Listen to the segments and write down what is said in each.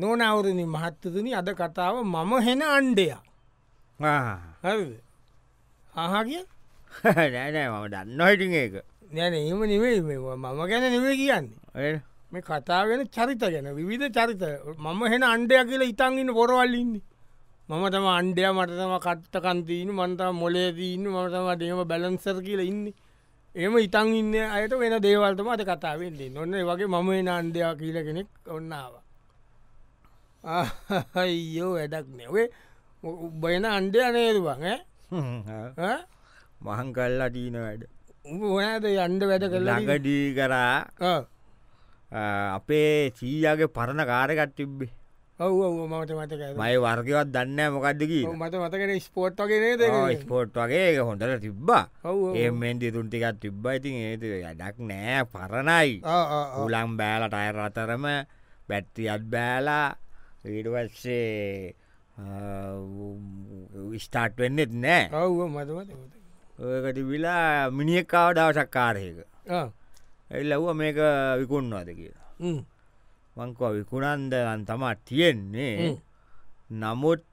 නොනවරණ මහත්තතුන අද කතාව මම හෙන අන්්ඩයා හරිද අහගිය නෑනෑ මම දන්න හිටින් ඒක නැන එම නෙවෙයි මේවා මම ගැන නෙවේ කියන්නේ ඒ- මේ කතාගෙන චරිත ගැන විවිධ චරිත මම හෙන අන්ඩය කියලා ඉතන්ගන්න පොරවල්ලින්නේ මම තම අන්ඩය මටතම කට්ටකන්තිීන මන්තම මොලේදීන්න මතම දේම බැලන්සර් කියලා ඉන්න එම ඉතන් ඉන්න අයට වෙන දේවල්තම අද කතාවෙන්නේ නොන්න ඒ වගේ මම එන අන්ඩයා කියල කෙනෙක් ඔන්නාව අයියෝ වැඩක් නැවේ උබයන අන්ඩය නේරුවන් හ්ම්, ආ. මහන් කල්ලා දීන වැඩ උඹ හොනද යන්ඩ වැඩ කරලා ලඟඩී කරා අ, අපේ සීයාගේ පරණ කාරකත් තිබ්බේ ඔව ඔව මට මතක මයි වර්ගවත් දන්න මොකක්දකි මත මතකට ස්පෝට් වගේ නේද ස්පෝට් වගේ ඒක හොඳට තිබ්බා ඔව් ඒමෙන්දි තුන්ටිකත් තිබ්බ ඉතින් ඒති වැඩක් නෑ පරණයි උලම් බෑලට අය රතරම බැට්ටියත් බෑලා ඊඩවස්සේ ස්ටාට් වෙන්නෙත් නෑ ඔව මතමත ඔකට විලා මිනිියකාව දවසක්කාරයක එල්ලව්ව මේක විකුණවාද කියලා මංකව විකුණන්දගන් තමා තියෙන්නේ හ්ම්. නමුත්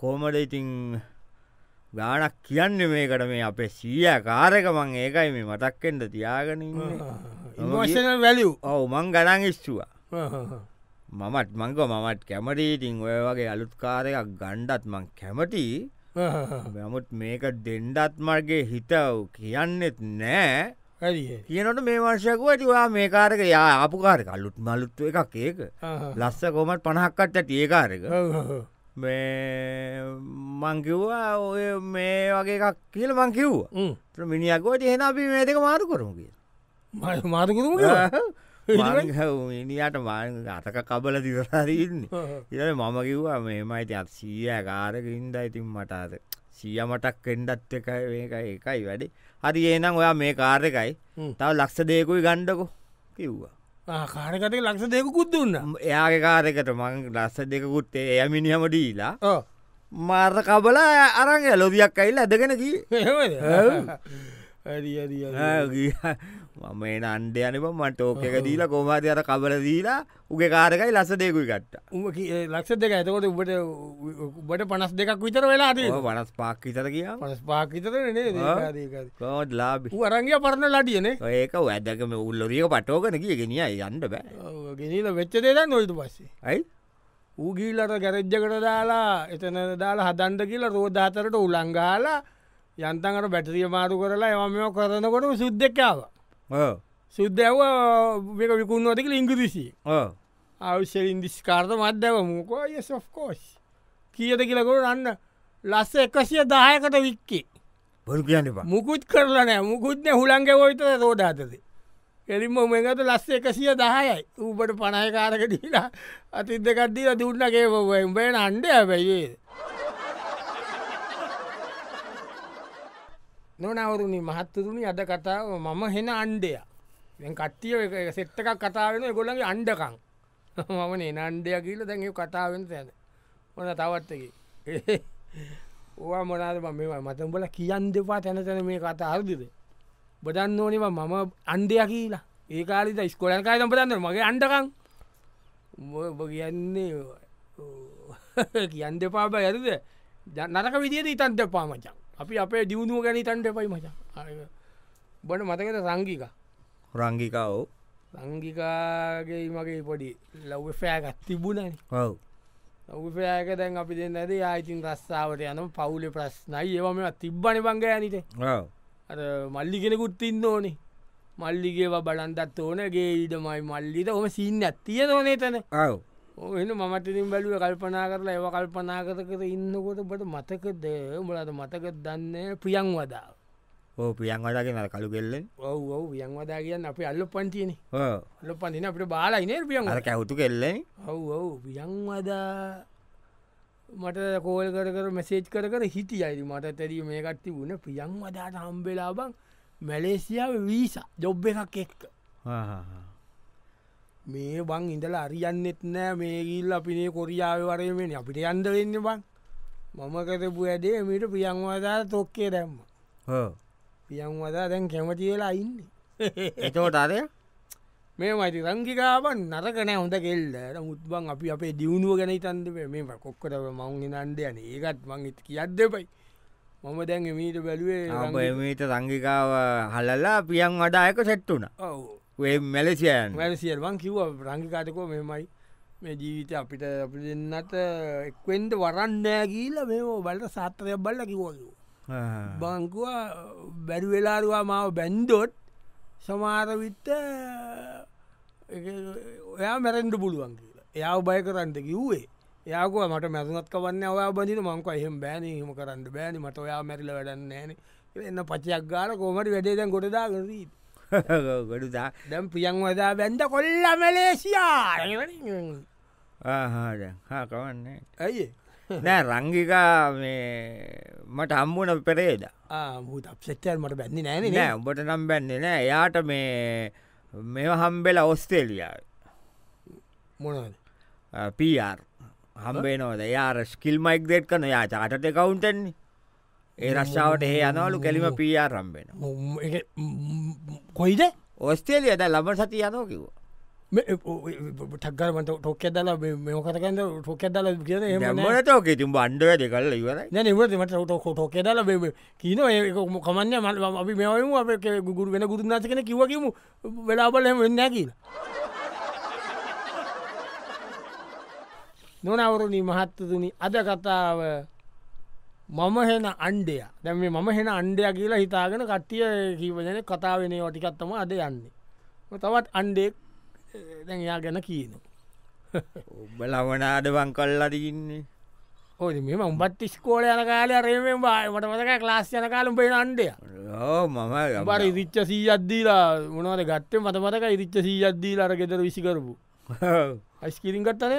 කෝමට ඉතිං ගානක් කියන්න මේකට මේ අපේ සීය කාරක මං ඒකයි මේ මතක්කෙන්ට තියාගෙන ඉමෝෂන වැලිව් ඔව මං ගනන් ඉස්්චවා මමත් මංක මමත් කැමරීඉතිං ඔය වගේ අලුත්කාරයක් ගණ්ඩත් මං කැමටි නමුත් මේක දෙන්ඩත් මර්ගේ හිතව් කියන්නෙත් නෑ හරි කියනට මේ වර්ෂයකුව ඇතිවා මේ කාරක යා අපපුකාරක අලුත් මලුත්ව එකක් ඒක ලස්ස කොමට පණහක්කට ඇති ඒකාරක මේ මංකිව්වා ඔය මේ වගේ එකක් කියල මංකිව්වා මිනිියකුවට එහෙන අපි මේ දෙක මාරු කරමු මාතකරම කිය මිනිට මාන අතක කබල දිවරරන්න ඉර මම කිව්වා මේමයිති අත් සීය කාරකින්ද ඉතින් මටාද සිය මටක් කෙන්ඩත් එක ඒක එකයි වැඩි හරි ඒනම් ඔයා මේ කාර්යකයි හ්ම්. තව ලක්ෂ දේකුයි ගණ්ඩකු කිව්වා කාරකතක ලක්ෂ දෙකුත් දුන්න ම් එයාගේ කාරකට මං ලස්ස දෙකුත්තේ එය මිනිහම ඩීලා මාර්ත කබලා අරග ලොදියක් අයිල්ල ඇදගෙනකි මම ඒ අන්ඩ යනම මට ඕකක දීලා කෝමාති අර කබල දීලා උගේ කාරකයි ලස්ස දෙකුයි කට්ට උම ලක්ෂ දෙක ඇතකොට උබට උබට පනස් දෙකක් විතර වෙලාද වනස් පාක්කිතර කියා පනස් පාකිතර නේ කෝඩ් ලාබි අරංගය පරණ ලටියනේ ඒක වැදකම උල්ලොරියක පටෝගන කිය ගෙනියයි යන්න බෑ ගෙනීල වෙච්චදේලා නොයිතු පස්සේ ඇයි ඌගීලට ගැරජ්ජකට දාලා එතන දාලා හදන්ඩ කියලා රෝධාතරට උලංගාලා යන්තකට බැටරිය මාරු කරලා එම මෙම කරනකොට සුද්දෙක්කාව ඕ සුද්දැව මේක විකුණුවතික ඉංග්‍රීසි ඕ අවශ්‍ය ඉන්දිස්කාර්ත මධ්‍යව මූකෝ සොෆ්කෝස් කියද කියලකොට රන්න ලස්ස එකසිය දායකට වික්කේ බොරු කියන්නපා මුකුත් කරලනෑ මුකුත්න හුළන්ගේ ොයිත රෝධාතද එලින්ම මේකත ලස්ස එකසිය දහයයි ඌපට පණයකාරකටලා අතිත් දෙකක්දීල දුන්නගේ බවෙන් අන්ඩ ඇබැයිේ නොනවරුණි මහත්තතුරුණි අද කතාව මම හෙන අන්ඩය දැන් කට්ටිය සෙට්ටකක් කතාවෙන ගොලගේ අන්ඩකං මම නේ නන්ඩය කියල දැන් ඒ කතාවෙන් සෑන මොන තවත්තකි ඕවා මොනාද මම මේවා මතඹල කියන් දෙපා තැන තැන මේ කතා අර්දිද බදන්න ඕනවා මම අන්ඩය කියලා ඒ කාලිත ස්කොලන් කායතම් පදන්න මගේ අන්ඩකං ඔබ කියන්නේ ඕ. කියන් දෙපාබ ඇරද නරක විදියට ඉතන්ට පාමචන් අපි අපේ දියුණුව ගැන තන්ට එපයි මචන් බොන මතකත සංගික රංගිකවෝ සංගිකාගේ මගේ පොඩි ලව් ෆෑගත් තිබුණන ඔව් ඔවෆෑක දැන් අපි දෙන්න ඇද ආයිතින් රස්සාාවට යනම් පවුල ප්‍රශ්නයි ඒවම තිබ්බන බංගයනට ඔව් අර මල්ලි කෙනෙකුත් ඉන්න ඕනේ මල්ලිගේව බලන්දත් ඕනගේ ඉඩමයි මල්ලිට හොම සින්න ඇත්තිය ඕනේ තැන ඔව් එන මමටින් බැලුව කල්පනා කරලා ඒව කල්පනා කර කර ඉන්නකොට බට මතකද උඹලට මතක දන්න ප්‍රියන් වදා ඕ පියන් වඩගෙන අර කළු කෙල්ලෙන් ඔව ඔව වියන් වදා කියන්න අප අල්ල පන්තියන ඕ ල පඳන අපට බාලයින පියන් අර කැහුතු කෙල්ලෙන් ඔව ඔව වියන් වදා මට කෝල් කර කර මෙසේජ් කර කර හිටිය අයිති මට තැරීම මේකත්ති වුණ ප්‍රියන් වදාට හම්බෙලා බං මැලේසියාව වීස ජොබ් එකක් එක්ක මේ බං ඉඳල අරියන්නෙත් නෑ මේගිල් අපිනේ කොරියාව වරයමෙන් අපිට අන්ද වෙන්න බං මම කරපු ඇඩේ මිට පියන්වදා තොක්කේ දැම්ම ඕ පියන්වදා දැන් කැමතිවෙලා ඉන්න එතෝට අරය මේ මයිති රංගිකාවන් නරකනෑ හොඳ කෙල්ලට මුත්බන් අපි අපේ දියුණුව ගැන තන්දපේ මේ කොක්කට මං නන්ඩයන ඒකත් මං ඉත් කියද්ද පයි මම දැන් මීට බැලුවේ රංගික- ඔබමීට සංගිකාව හලලා පියන් වඩායක සෙට්ටුන ඔව් මැලසියන් මැසිියල්වන් කිව්ව රංගිකාතකෝ මෙමයි මේ ජීවිත අපිට අපි දෙන්නට එක්වෙන්ට වරන්නෑ කියීල මේ බලට සාත්‍රයක් බල්ල කිවෝලූ බංකුවා බැරිවෙලාරවා මාව බැන්්ඩොට් සමාරවිත්ත ඔයා මැරෙන්ඩ පුළුවන් කියලා එයා බය කරන්න කිව්වේ යකවා මට මැසනත් කවන්න ඔයා බඳන මංක එහෙම බෑන හම කරන්න බෑන මට ඔයා මැරිල වැඩන්න ෑන එන්න පචයක් ගාල කෝමට වැඩේදැන් ගොඩදා කරී ගොඩුදා දැම් ප්‍රියන්වදා බැන්ඩ කොල්ල මැලේසියා ආහාද හා කවන්නේ ඇයි නෑ රංගිකා මේ මට හම්බුණ පෙරේද මුත් අපසෙටල් මට බැන්නේ නෑන නෑ උඹට නම් බැන්නේ නෑ එයාට මේ මෙ හම්බෙලා ඔස්ටේලියාව මොනද පර් හම්බේ නොද යාර ස්කිල් මයික් දෙෙට් කන යා චාටට කවුන්ටෙන්නේ ඒ රශ්ාවට හේ යනවලු කෙලිම පර් රම්බෙන eh, කොයිද ඔස්ටේලිය ද ලබ සති යනෝ කිව eh, oh, ටක්ගරමට ටොක්කෙදල මෙෝකතකන්න ටොක්කෙදල කියන මනතෝක තුම් බන්්ඩුව දෙ කල්ල ඉවරයි නැ නිවට මට ට ටොක්කෙදල කියන ඒකම කමන්න මල් අපි මෙවම අප ගුරු වෙන ගුරුනාස කෙන කිවකිමු වෙලාබල වෙන්න කියලා නොනවරුණී මහත්තතුනි අද කතාව මම හෙන අන්්ඩය දැම මම හෙන අන්්ඩය කියලා හිතාගෙන කට්ටිය කීවදන කතාවෙනේ වටිකත්තම අද යන්නේ තවත් අන්්ඩෙක් දැන් එයා ගැන කියන ඔබ ලමනාද බං කල්ලදකින්නේ ඕ මෙම උඹත් ස්කෝල යන කාලය රේමෙන් බාමට මතක ලාස් යන කාලම් පෙන අන්්ඩය ඕ මම බර ඉදිච්ච සීයද්දීලා මොනවද ගත්තේ මත මතක ඉදිච්ච සීයද්දී අර ගෙදර විසිකරපු අයිස්කිරින් කත්තනය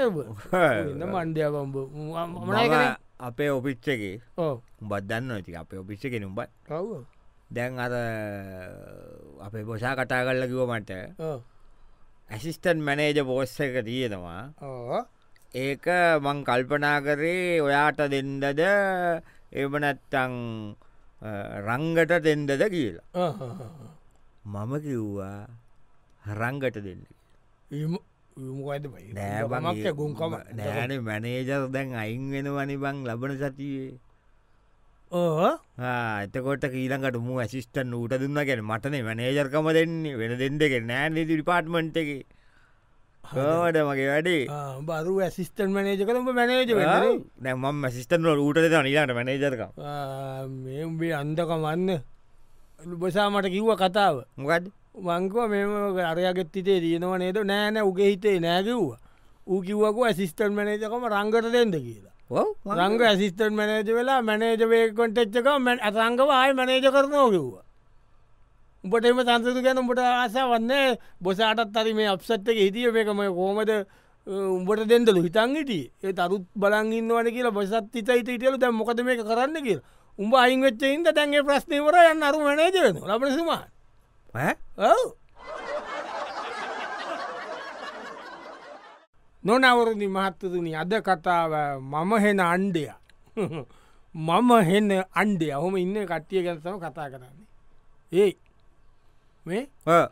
මණ්ඩයබම්බ මම මනයි අපේ ඔපිච්චගේ ඕ උබදන්න ඇති අපේ ඔපිච්ච කෙනුම්බත් කව්ව දැන් අර අපේ පොසා කතා කල්ල කිව මට ඇසිස්ටන් මැනේජ පෝස්ස එක තියෙනවා ඒක මං කල්පනා කරේ ඔයාට දෙන්දද එමනැත්තං රංගට දෙන්දද කියලා මම කිව්වා රංගට දෙන්න මකද බයි නෑ මක්ය ගුන්කම නෑන මැනේජර් දැන් අයින් වෙනවනි බං ලබන සතියේ ඕ ආ, එතකොට කීලකට මු ඇසිස්ටන් ඌට දුන්නගෙන මටනේ මනේජර්කම දෙන්නේ වෙන දෙන්න දෙක නෑන ඩිපාර්ට්මන්ට් එක හෝඩ මගේ වැඩේ බරු ඇසිස්ටන් මනේජ කළඹ මැනේජ නැම මසිස්ටන් ඌට දෙ නිලාට මනේජර්කම් මේ උඹේ අන්දකමන්න ලුබසා මට කිව්ව කතාව මොකද මංකව මෙම අරයගෙත් හිතේ දීනව නේද නෑන උගේ හිතේ නෑකිව්වා ඌ කිව්වකු ඇසිස්ටන් මනේජකම රංගට දෙෙන්ද කියලා ඔව් රංග ඇසිස්ටන් මනේජ වෙලා මනේජවේකොට එච්චක රංගව ආය මනේජ කරනෝ කිව්වා උඹට එම සංසතු ගැන උඹට ආසා වන්නේ බොසාටත් අරි මේ අප්සට් එක හිටිය මේකම කෝමද උඹට දෙදලු හිතන් හිටිය ඒ තරුත් බලගින්නවන කියලා බොසත් හිත හිට හිටියලු දැ මොකද මේක කරන්න කියලා උඹ අයිංවෙච්චයින්ද දැන්ගේ ප්‍රශ්නීවර යන්න අරු මනේජ වෙන ලබනසුමා ඔව් නොනවරුදි මහත්තතුනි අද කතාව මම හෙන අන්්ඩය මම හෙන අන්්ඩය හොම ඉන්න කට්ටිය ගැනතම කතා කරන්නේ ඒ මේ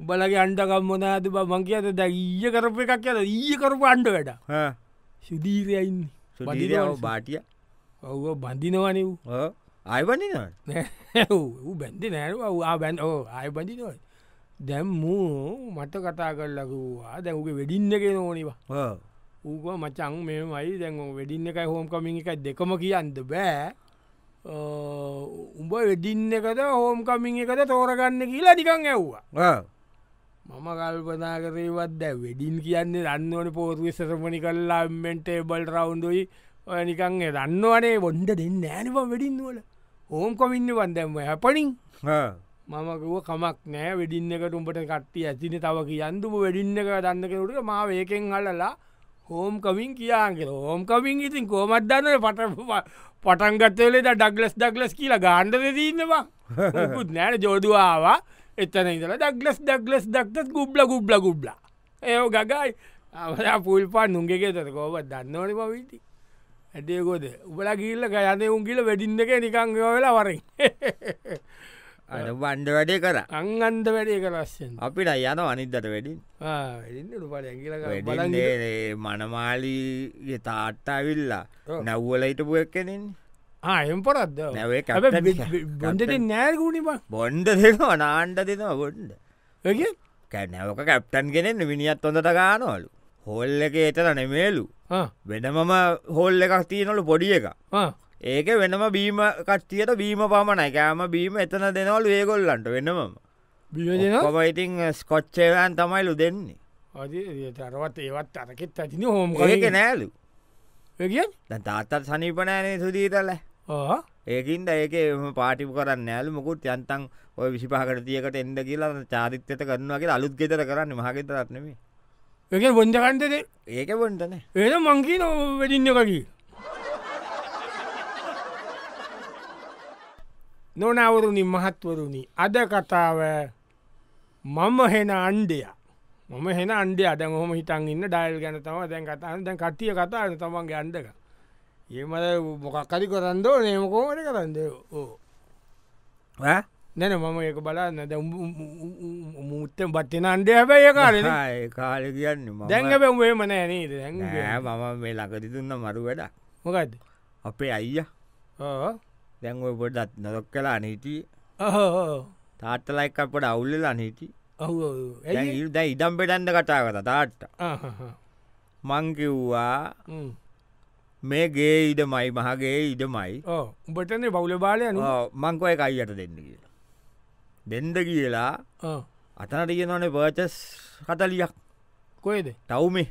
උබලගේ අන්ඩකම්මොනාද බ මං කියද ද ඊය කරපු එකක් කියල ඊය කරපු අන්ඩ වැඩ සුදීරියාව සුදීරයයින්න බාටිය ඔව බඳිනවනිව් අයවන්නේ න බැන්දි නෑනවා බැන් ඕ අය බඳිනව දැම්මූ මට කතා කරලකවා දැවගේ වෙඩින්න එක නොනිවා ඌක මචං මෙමයි දැන් ඔය වෙඩින්න එකයි හෝම් කමින් එකයි දෙකම කියන්න බෑ අ, උඹ වෙඩින්න එකද හෝම් කමින් එකද තෝරගන්න කියලා නිකං ඇව්වා මම කල්පනා කරේවත් දැ වෙඩින් කියන්නේ රන්නවන පෝතුවේ සසමනි කල්ලා මෙන්ටේ බල් රවුන්ඩුයි ඔය නිකං රන්නවනේ බොන්්ඩ දෙන්න ෑනිපම් වෙඩින්වල හෝම් කොමින්න වන්දැම හැපනින් මමකුව කමක් නෑ වෙඩින්න එක උඹට කට්ටිය ඇතින තව කියන්තුම වෙඩින්න එක දන්න කෙනට මා ඒකෙන් අල්ලලා හෝම් කමින් කියාන්ගෙන හෝම් කමින් ඉතින් කෝමත් දන්න පට පටන්ගත්තවලේ ඩක්ලස් ඩක්ලස් කියලා ගාන්ඩ දීන්නවා කුත් නෑන ජෝඩුවාවා එතන ඉදල ඩක්ලස් ඩක්ලස් දක්තත් ගුබ්ල ගුබ්ල ගුබ්ල ඒෝ ගගයි අවලා පුල් පා නුන්ගේ තර කෝවත් දන්නවන පවිටි ඇඩේකොද උබල ගිල්ල යන උන්ගිල වැඩින්න එක නිකංග වෙලා වරින් අන වන්ඩ වැඩේ කර අංගන්ද වැඩේ කරස්සෙන් අපිට යන අනිද්දට වැඩින් ඉන්නට පල ඇගිල බලන් වැඩින්ේ මනමාලීගේ තාට්ටාවිල්ලා ඔව්. නැව්වල හිටපු එක්කෙනින් ආයම් පරත්ද නැවේ බොන්ඩට නෑගුණි බක් බොන්්ඩ දෙනවා නාන්ඩ දෙනවා බොන්්ඩ ඇ කැනැවක කැප්ටන් කෙනෙන්න මිනිියත් ොඳට ගානවලු හොල් එක එතන නෙමේලු වෙනමම හොල් එකක් තියනොලු පොඩිය එක ඒක වෙනම බීම කට්ටියට බීම පමණයි කෑම බීම එතන දෙනවලු ඒගොල්ලන්ට වෙනමම බියජන කොමයිඉතින් ස්කොච්චේවන් තමයිලු දෙන්නේ තරවත් ඒවත් අරකෙත් ඇතින හෝම ඒක නෑලු දැන් තාත්තත් සනීපනෑනේ සුදීතල ඒකින්ද ඒක එම පාටිප කරන්න ෑලු මොකුත් යන්තන් ඔය විසිපාකට තියකට එන්ඩ කියලා චාරිත්‍යත කරනවාගේ අලුත් ගෙතර කරන්න මහගෙතරත්නම එක බොන්ජකන්තද ඒක පොන්ටන ඒද මංකී නො වැඩින්න එකකි නොනවරුණි මහත්වරුණි අද කතාව මම හෙන අන්්ඩය මම හෙන අන්ඩ අද හොම හිතන් ඉන්න ඩයිල් ගැන තම දැන් කතාන්න දැන් කට්ටිය කතාන තමන්ගේ අන්ඩක ඒමද මොකක්කරි කරන්දෝ නේමකෝමට කරන්ද ඕ නැන මම ඒක බලන්න ද මුත්තෙන් පට්ටින අන්ඩ හැබැ ඒ කාලන කාල කියන්න මම- දැන්ගැබැවේ මනෑනේද දැ නෑ මම මේ ලකති තුන්න මරු වැඩ මොකක්ද අපේ අයිය ඕ දැන් ඔය පොඩත් නොදොක් කලා නීටි ඔහෝ තාත්තලයික් අපට අවුල්ලලා නීටි ඔහු දැන් ඉල්- දැන් ඉඩම් පෙටන්ඩ කටා කත තාට්ට මංකිව්වා මේ ගේ ඉඩමයි මහගේ ඉඩමයි ඕ උඹටනේ බෞල බාලය නු මංකවය අයියට දෙන්න කියලා දෙන්ද කියලා අතනට කියනනේ පර්චස් කතලියක් කොයද තවුමේ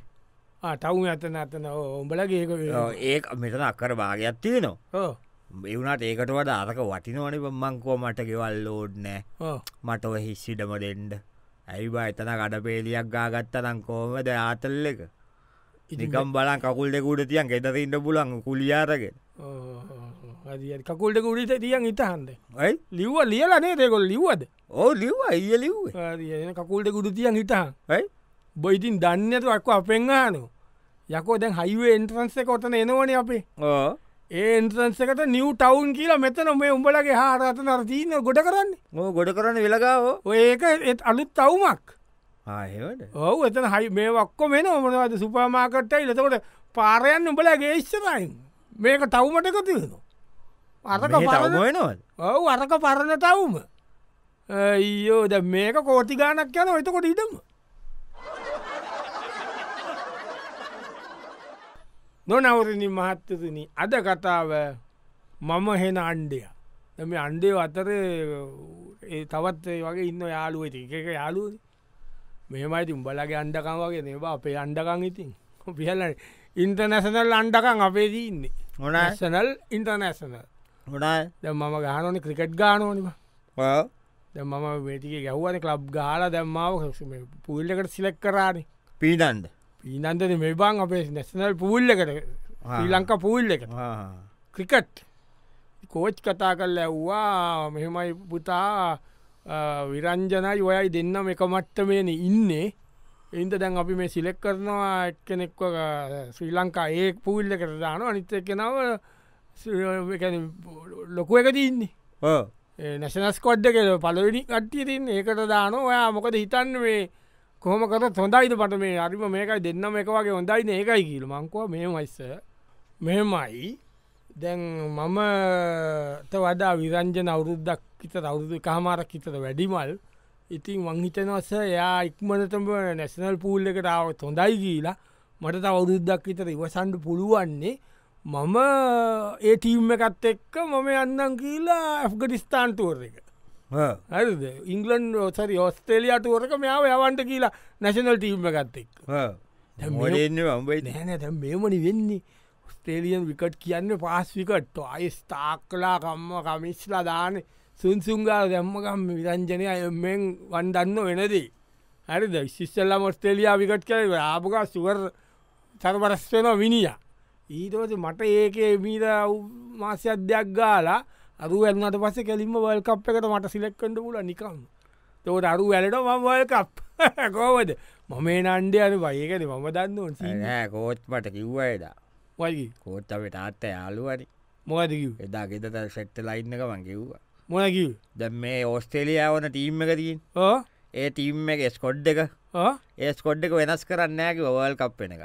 තවු අතන අතන උඹලගේක ඒ මෙතන අක්කර භාගයක් තියෙනවා ඕ එවුණට ඒකට වට අරක වටිනවනේ මංකෝ මට ගෙවල් ලෝඩ් නෑ ඕ මට ඔය හිස්සිටම දෙන්ඩ ඇයිබා එතන ගඩ පේලියක් ගාගත්ත නම් කෝමද ආතල් එක නිකම් බලන් කකුල් දෙකුට තියන් ගෙතර ඉන්න පුලන් කුලියාරගෙන අ කකුල්ට කුඩිට තියන් ඉතහන්ද යි ලිව්ව ලියලනේ දෙකොල් ලිව්වද ඕ ලිව් අයිය ලිව්ේ ආදි, එන කකුල්ට කුඩු තියන් හිටහන් යි බොයිතින් දන්නතු අක්ව අපෙන්ගානු යකෝ දැන් හයිුවේ එන්ට්‍රන්සේ කොටන එනවන අපේ ඕ ඒ එන්ට්‍රන්සකට නිව් ටවුන් කියලා මෙතන මේ උඹලගේ හාරත නරතිීන ගොඩ කරන්න ඕ ගොඩ කරන්න වෙලගාවෝ ඔය ඒක ඒත් අලුත් තවුමක් ආහෙවට ඔහු එතන හයි මේ වක්කො මෙන ඔමනවද සුපමාකට්ටයි ලතකොට පාරයන්න උඹලගේ ේශ්ෂරයින් මේක තවුමටක තියනවා අරක පරණ තවමයනවද ඔවු අරක පරණ තවුම ඒෝ ද මේක කෝටි ගානක් යන එතකොට ඉටම නොනවරණින් මහත්තතුනි අද කතාව මම හෙන අන්්ඩය දම අන්ඩේ අතර ඒ තවත් ඒ වගේ ඉන්න යාලුව එක එක යාලුව මෙමයිති උඹලගේ අන්ඩකම් වගේ නවා අපේ අන්ඩකං ඉතින් පිහල ඉන්ටනැසනල් අන්ඩකං අපේ දීන්නේ හොනයි. සනල් ඉන්ටර්නැසනල් මොනා දැ මම ගානෝනි ක්‍රිකට් ගානෝනිම දැ මම වෙටික ගැහ්වන කලබ් ගාල දැම්මාව පුල්ලකට සිලෙක් කරාන පීඩන්ද පීනන්දන මේ බං අපේ නැසනල් පූල්ලකට ශ්‍රී ලංක පූල්ල එකට ක්‍රිකට් කෝච් කතා කරල ඇව්වා මෙහෙමයි පුතා අ, විරංජනයි ඔයයි දෙන්න එක මට්ටමයන ඉන්නේ එන්ද දැන් අපි මේ සිලෙක් කරනවා එක්කෙනෙක්ව අ, ශ්‍රී ලංකා ඒ පූල්ල කරදාන අනිත කෙනාව ලොකුව එකති ඉන්නේ නැශනස්කොඩ්ඩ කෙල පලවෙනි කට්ටියතින් ඒකට දාන ඔයා මොකද හිතන් වේ කොහොම කර හොඳයිද පට මේ අරිම මේකයි දෙන්නම එක වගේ හොඳයින ඒකයි කියල මංකව මෙමයිස්ස මෙමයි දැන් මමට වඩා විරංජන අවුරුද්දක් කිත අවුරුදු කාමාරක් හිතට වැඩිමල් ඉතින් වංහිතනවස එයා ඉක්මනටම නැසනල් පූල් එකට ආවත් හොඳයි කියලා මට තවුරුද්දක් විතර ඉවසන්ඩ පුළුවන්නේ මම ඒ ටීම් එකත් එක්ක මම යන්නම් කියලා ඇෆ්ගටිස්ථාන්තුවර එක ඇද ඉංගලන්් සරි ඔස්ටේලියටුවරක මෙයාව යවන්ට කියලා නැශනල් ටීම්ම එකත් එක් දැන් මේ- මොඩෙන්න වම්බයි නැන දැ මේමනි වෙන්නේ ස්ටේලියන් විකට් කියන්න පාස් විකට්ට අය ස්ථාක්කලා කම්ම කමිස්ලා දාන සුන්සුන්ගාල දැම්මකම් විරංජනය අයමෙන් වන්ඩන්න වෙනදී හරිද ශිස්සල්ලා මොස්ටේලියා විකට් කර ආපුක සුවර් සරපරස්වෙන විනිිය ඊටවස මට ඒකේ මීද මාසය අධ්‍යයක් ගාලා අරු ඇන්නට පස කෙලින්ම වල්කප් එකට මට සිලෙක්කඩ පුල නිකම් තෝට අරු වැලට මම වල්කප් කෝවද මම නන්ඩය අන වයකද මම දන්න ඕන සීන කෝච් මට කිව්වයදා වගේ කෝට්ට අපට තාත්ත යාලුවරි මොකදකිව එදා ගෙතත සෙට්ට ලයින්න එක මං කිව්වා මොනකිව ද මේ ඔස්ටේලියාවන ටීම් එකතින් ඒ ටීම් එක ස්කොඩ් එක ඒ ස්කොඩ් එක වෙනස් කරන්නෑකි ඔවල් කප් වෙන එක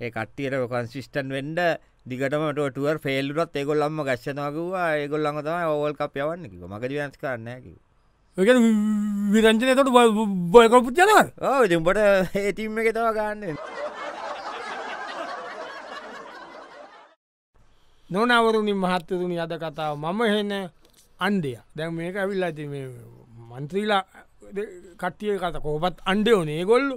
ඒ කට්ටියට කොන්සිිස්ටන් වෙන්ඩ දිගටමටටුව ෆෙල්ලුරත් ඒගොල්ලම්ම ගශ්නකවා ඒගොල්ලඟ තම ඔවල් කප් යවන්න කිව මකද වෙනස් කරන්නකි විරංජනය තොට බොයකොපුත් යනවර ඕ දෙම්බට ඒටීම් එක තව ගන්න නොනවරුණින් මහත්තතුනි අද කතාව මම හෙන අන්ඩය දැන් මේක ඇවිල් ඇති මන්ත්‍රීලා කට්ටිය කත කෝපත් අන්ඩය ඕනේ ගොල්ලු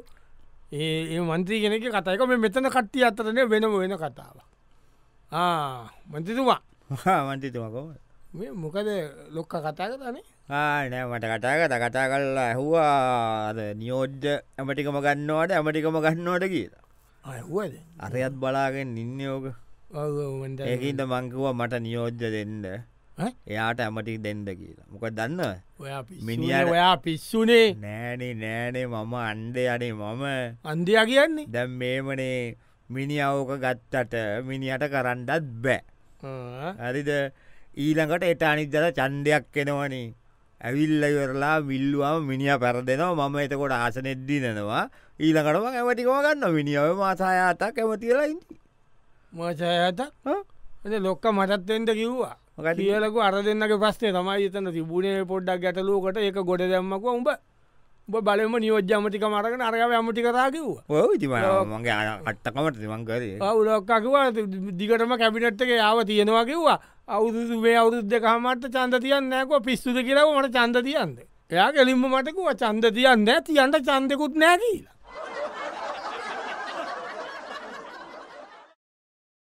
ඒ මන්ත්‍රී කෙනෙක කතයක මේ මෙතන කට්ටිය අතරන වෙනම වෙන කතාව මන්තිතුමා මන්ටිතුමකෝ මේ මොකද ලොක්ක කතා කතනේ ආනෑ මට කටා කත කතා කල්ලා ඇහුවාද නියෝජ්ජ ඇමටිකම ගන්නවට ඇමටිකම ගන්නවට කියලා අයහුවද අරයත් බලාගෙන් නින්නයෝක ඒකින්ට මංකවා මට නියෝජ්ජ දෙන්න එයාට ඇමටික් දෙන්ඩ කියලා මොක දන්න මිනිහට- ඔයා පිස්සුනේ නෑනේ නෑනේ මම අන්ඩ අනේ මම අන්දයා කියන්නේ දැම් මේමනේ මිනි අවෝක ගත්තට මිනිට කරන්නත් බෑ හරිද ඊළඟට එට අනිදල චන්ඩයක් එෙනවනේ ඇවිල්ල ඉවරලා විල්ලුවම මිනිිය පැරදෙනවා මම එතකොට ආසනෙද්දී නෙනවා ඊළඟටම ඇමටිකම ගන්න මිනිියාව මාසායාතා කැමතිලා ඉන්ටි මචයත ලොක්ක මටත්තෙන්ට කිව්වා මොකද? කියලක අර දෙන්නගේ පස්සේ තමයි එතන තිබුණේ පොඩ්ඩක් ගැටලුවකට ඒක ගොඩ දැම්මක උඹ උඹ බලම නියෝජ්‍යමටික මරගෙන අරගව ඇමටි කරා කිව්වා ඔය ඉතිම මගේ අත්තකමට තිමංකරේ උලොක්කකිවා දිගටම කැපිනට්ක යාව තියෙනවා කිව්වා අවුදු මේ අවුරුද්ධ කහමට චන්ද තියන්න නෑකෝ පිස්සුද කියලව මට චන්ද තියන්ද එයා කෙලින්ම මටකුව චන්ද තියන්න තියන්ට චන්දකුත් නෑ කියලා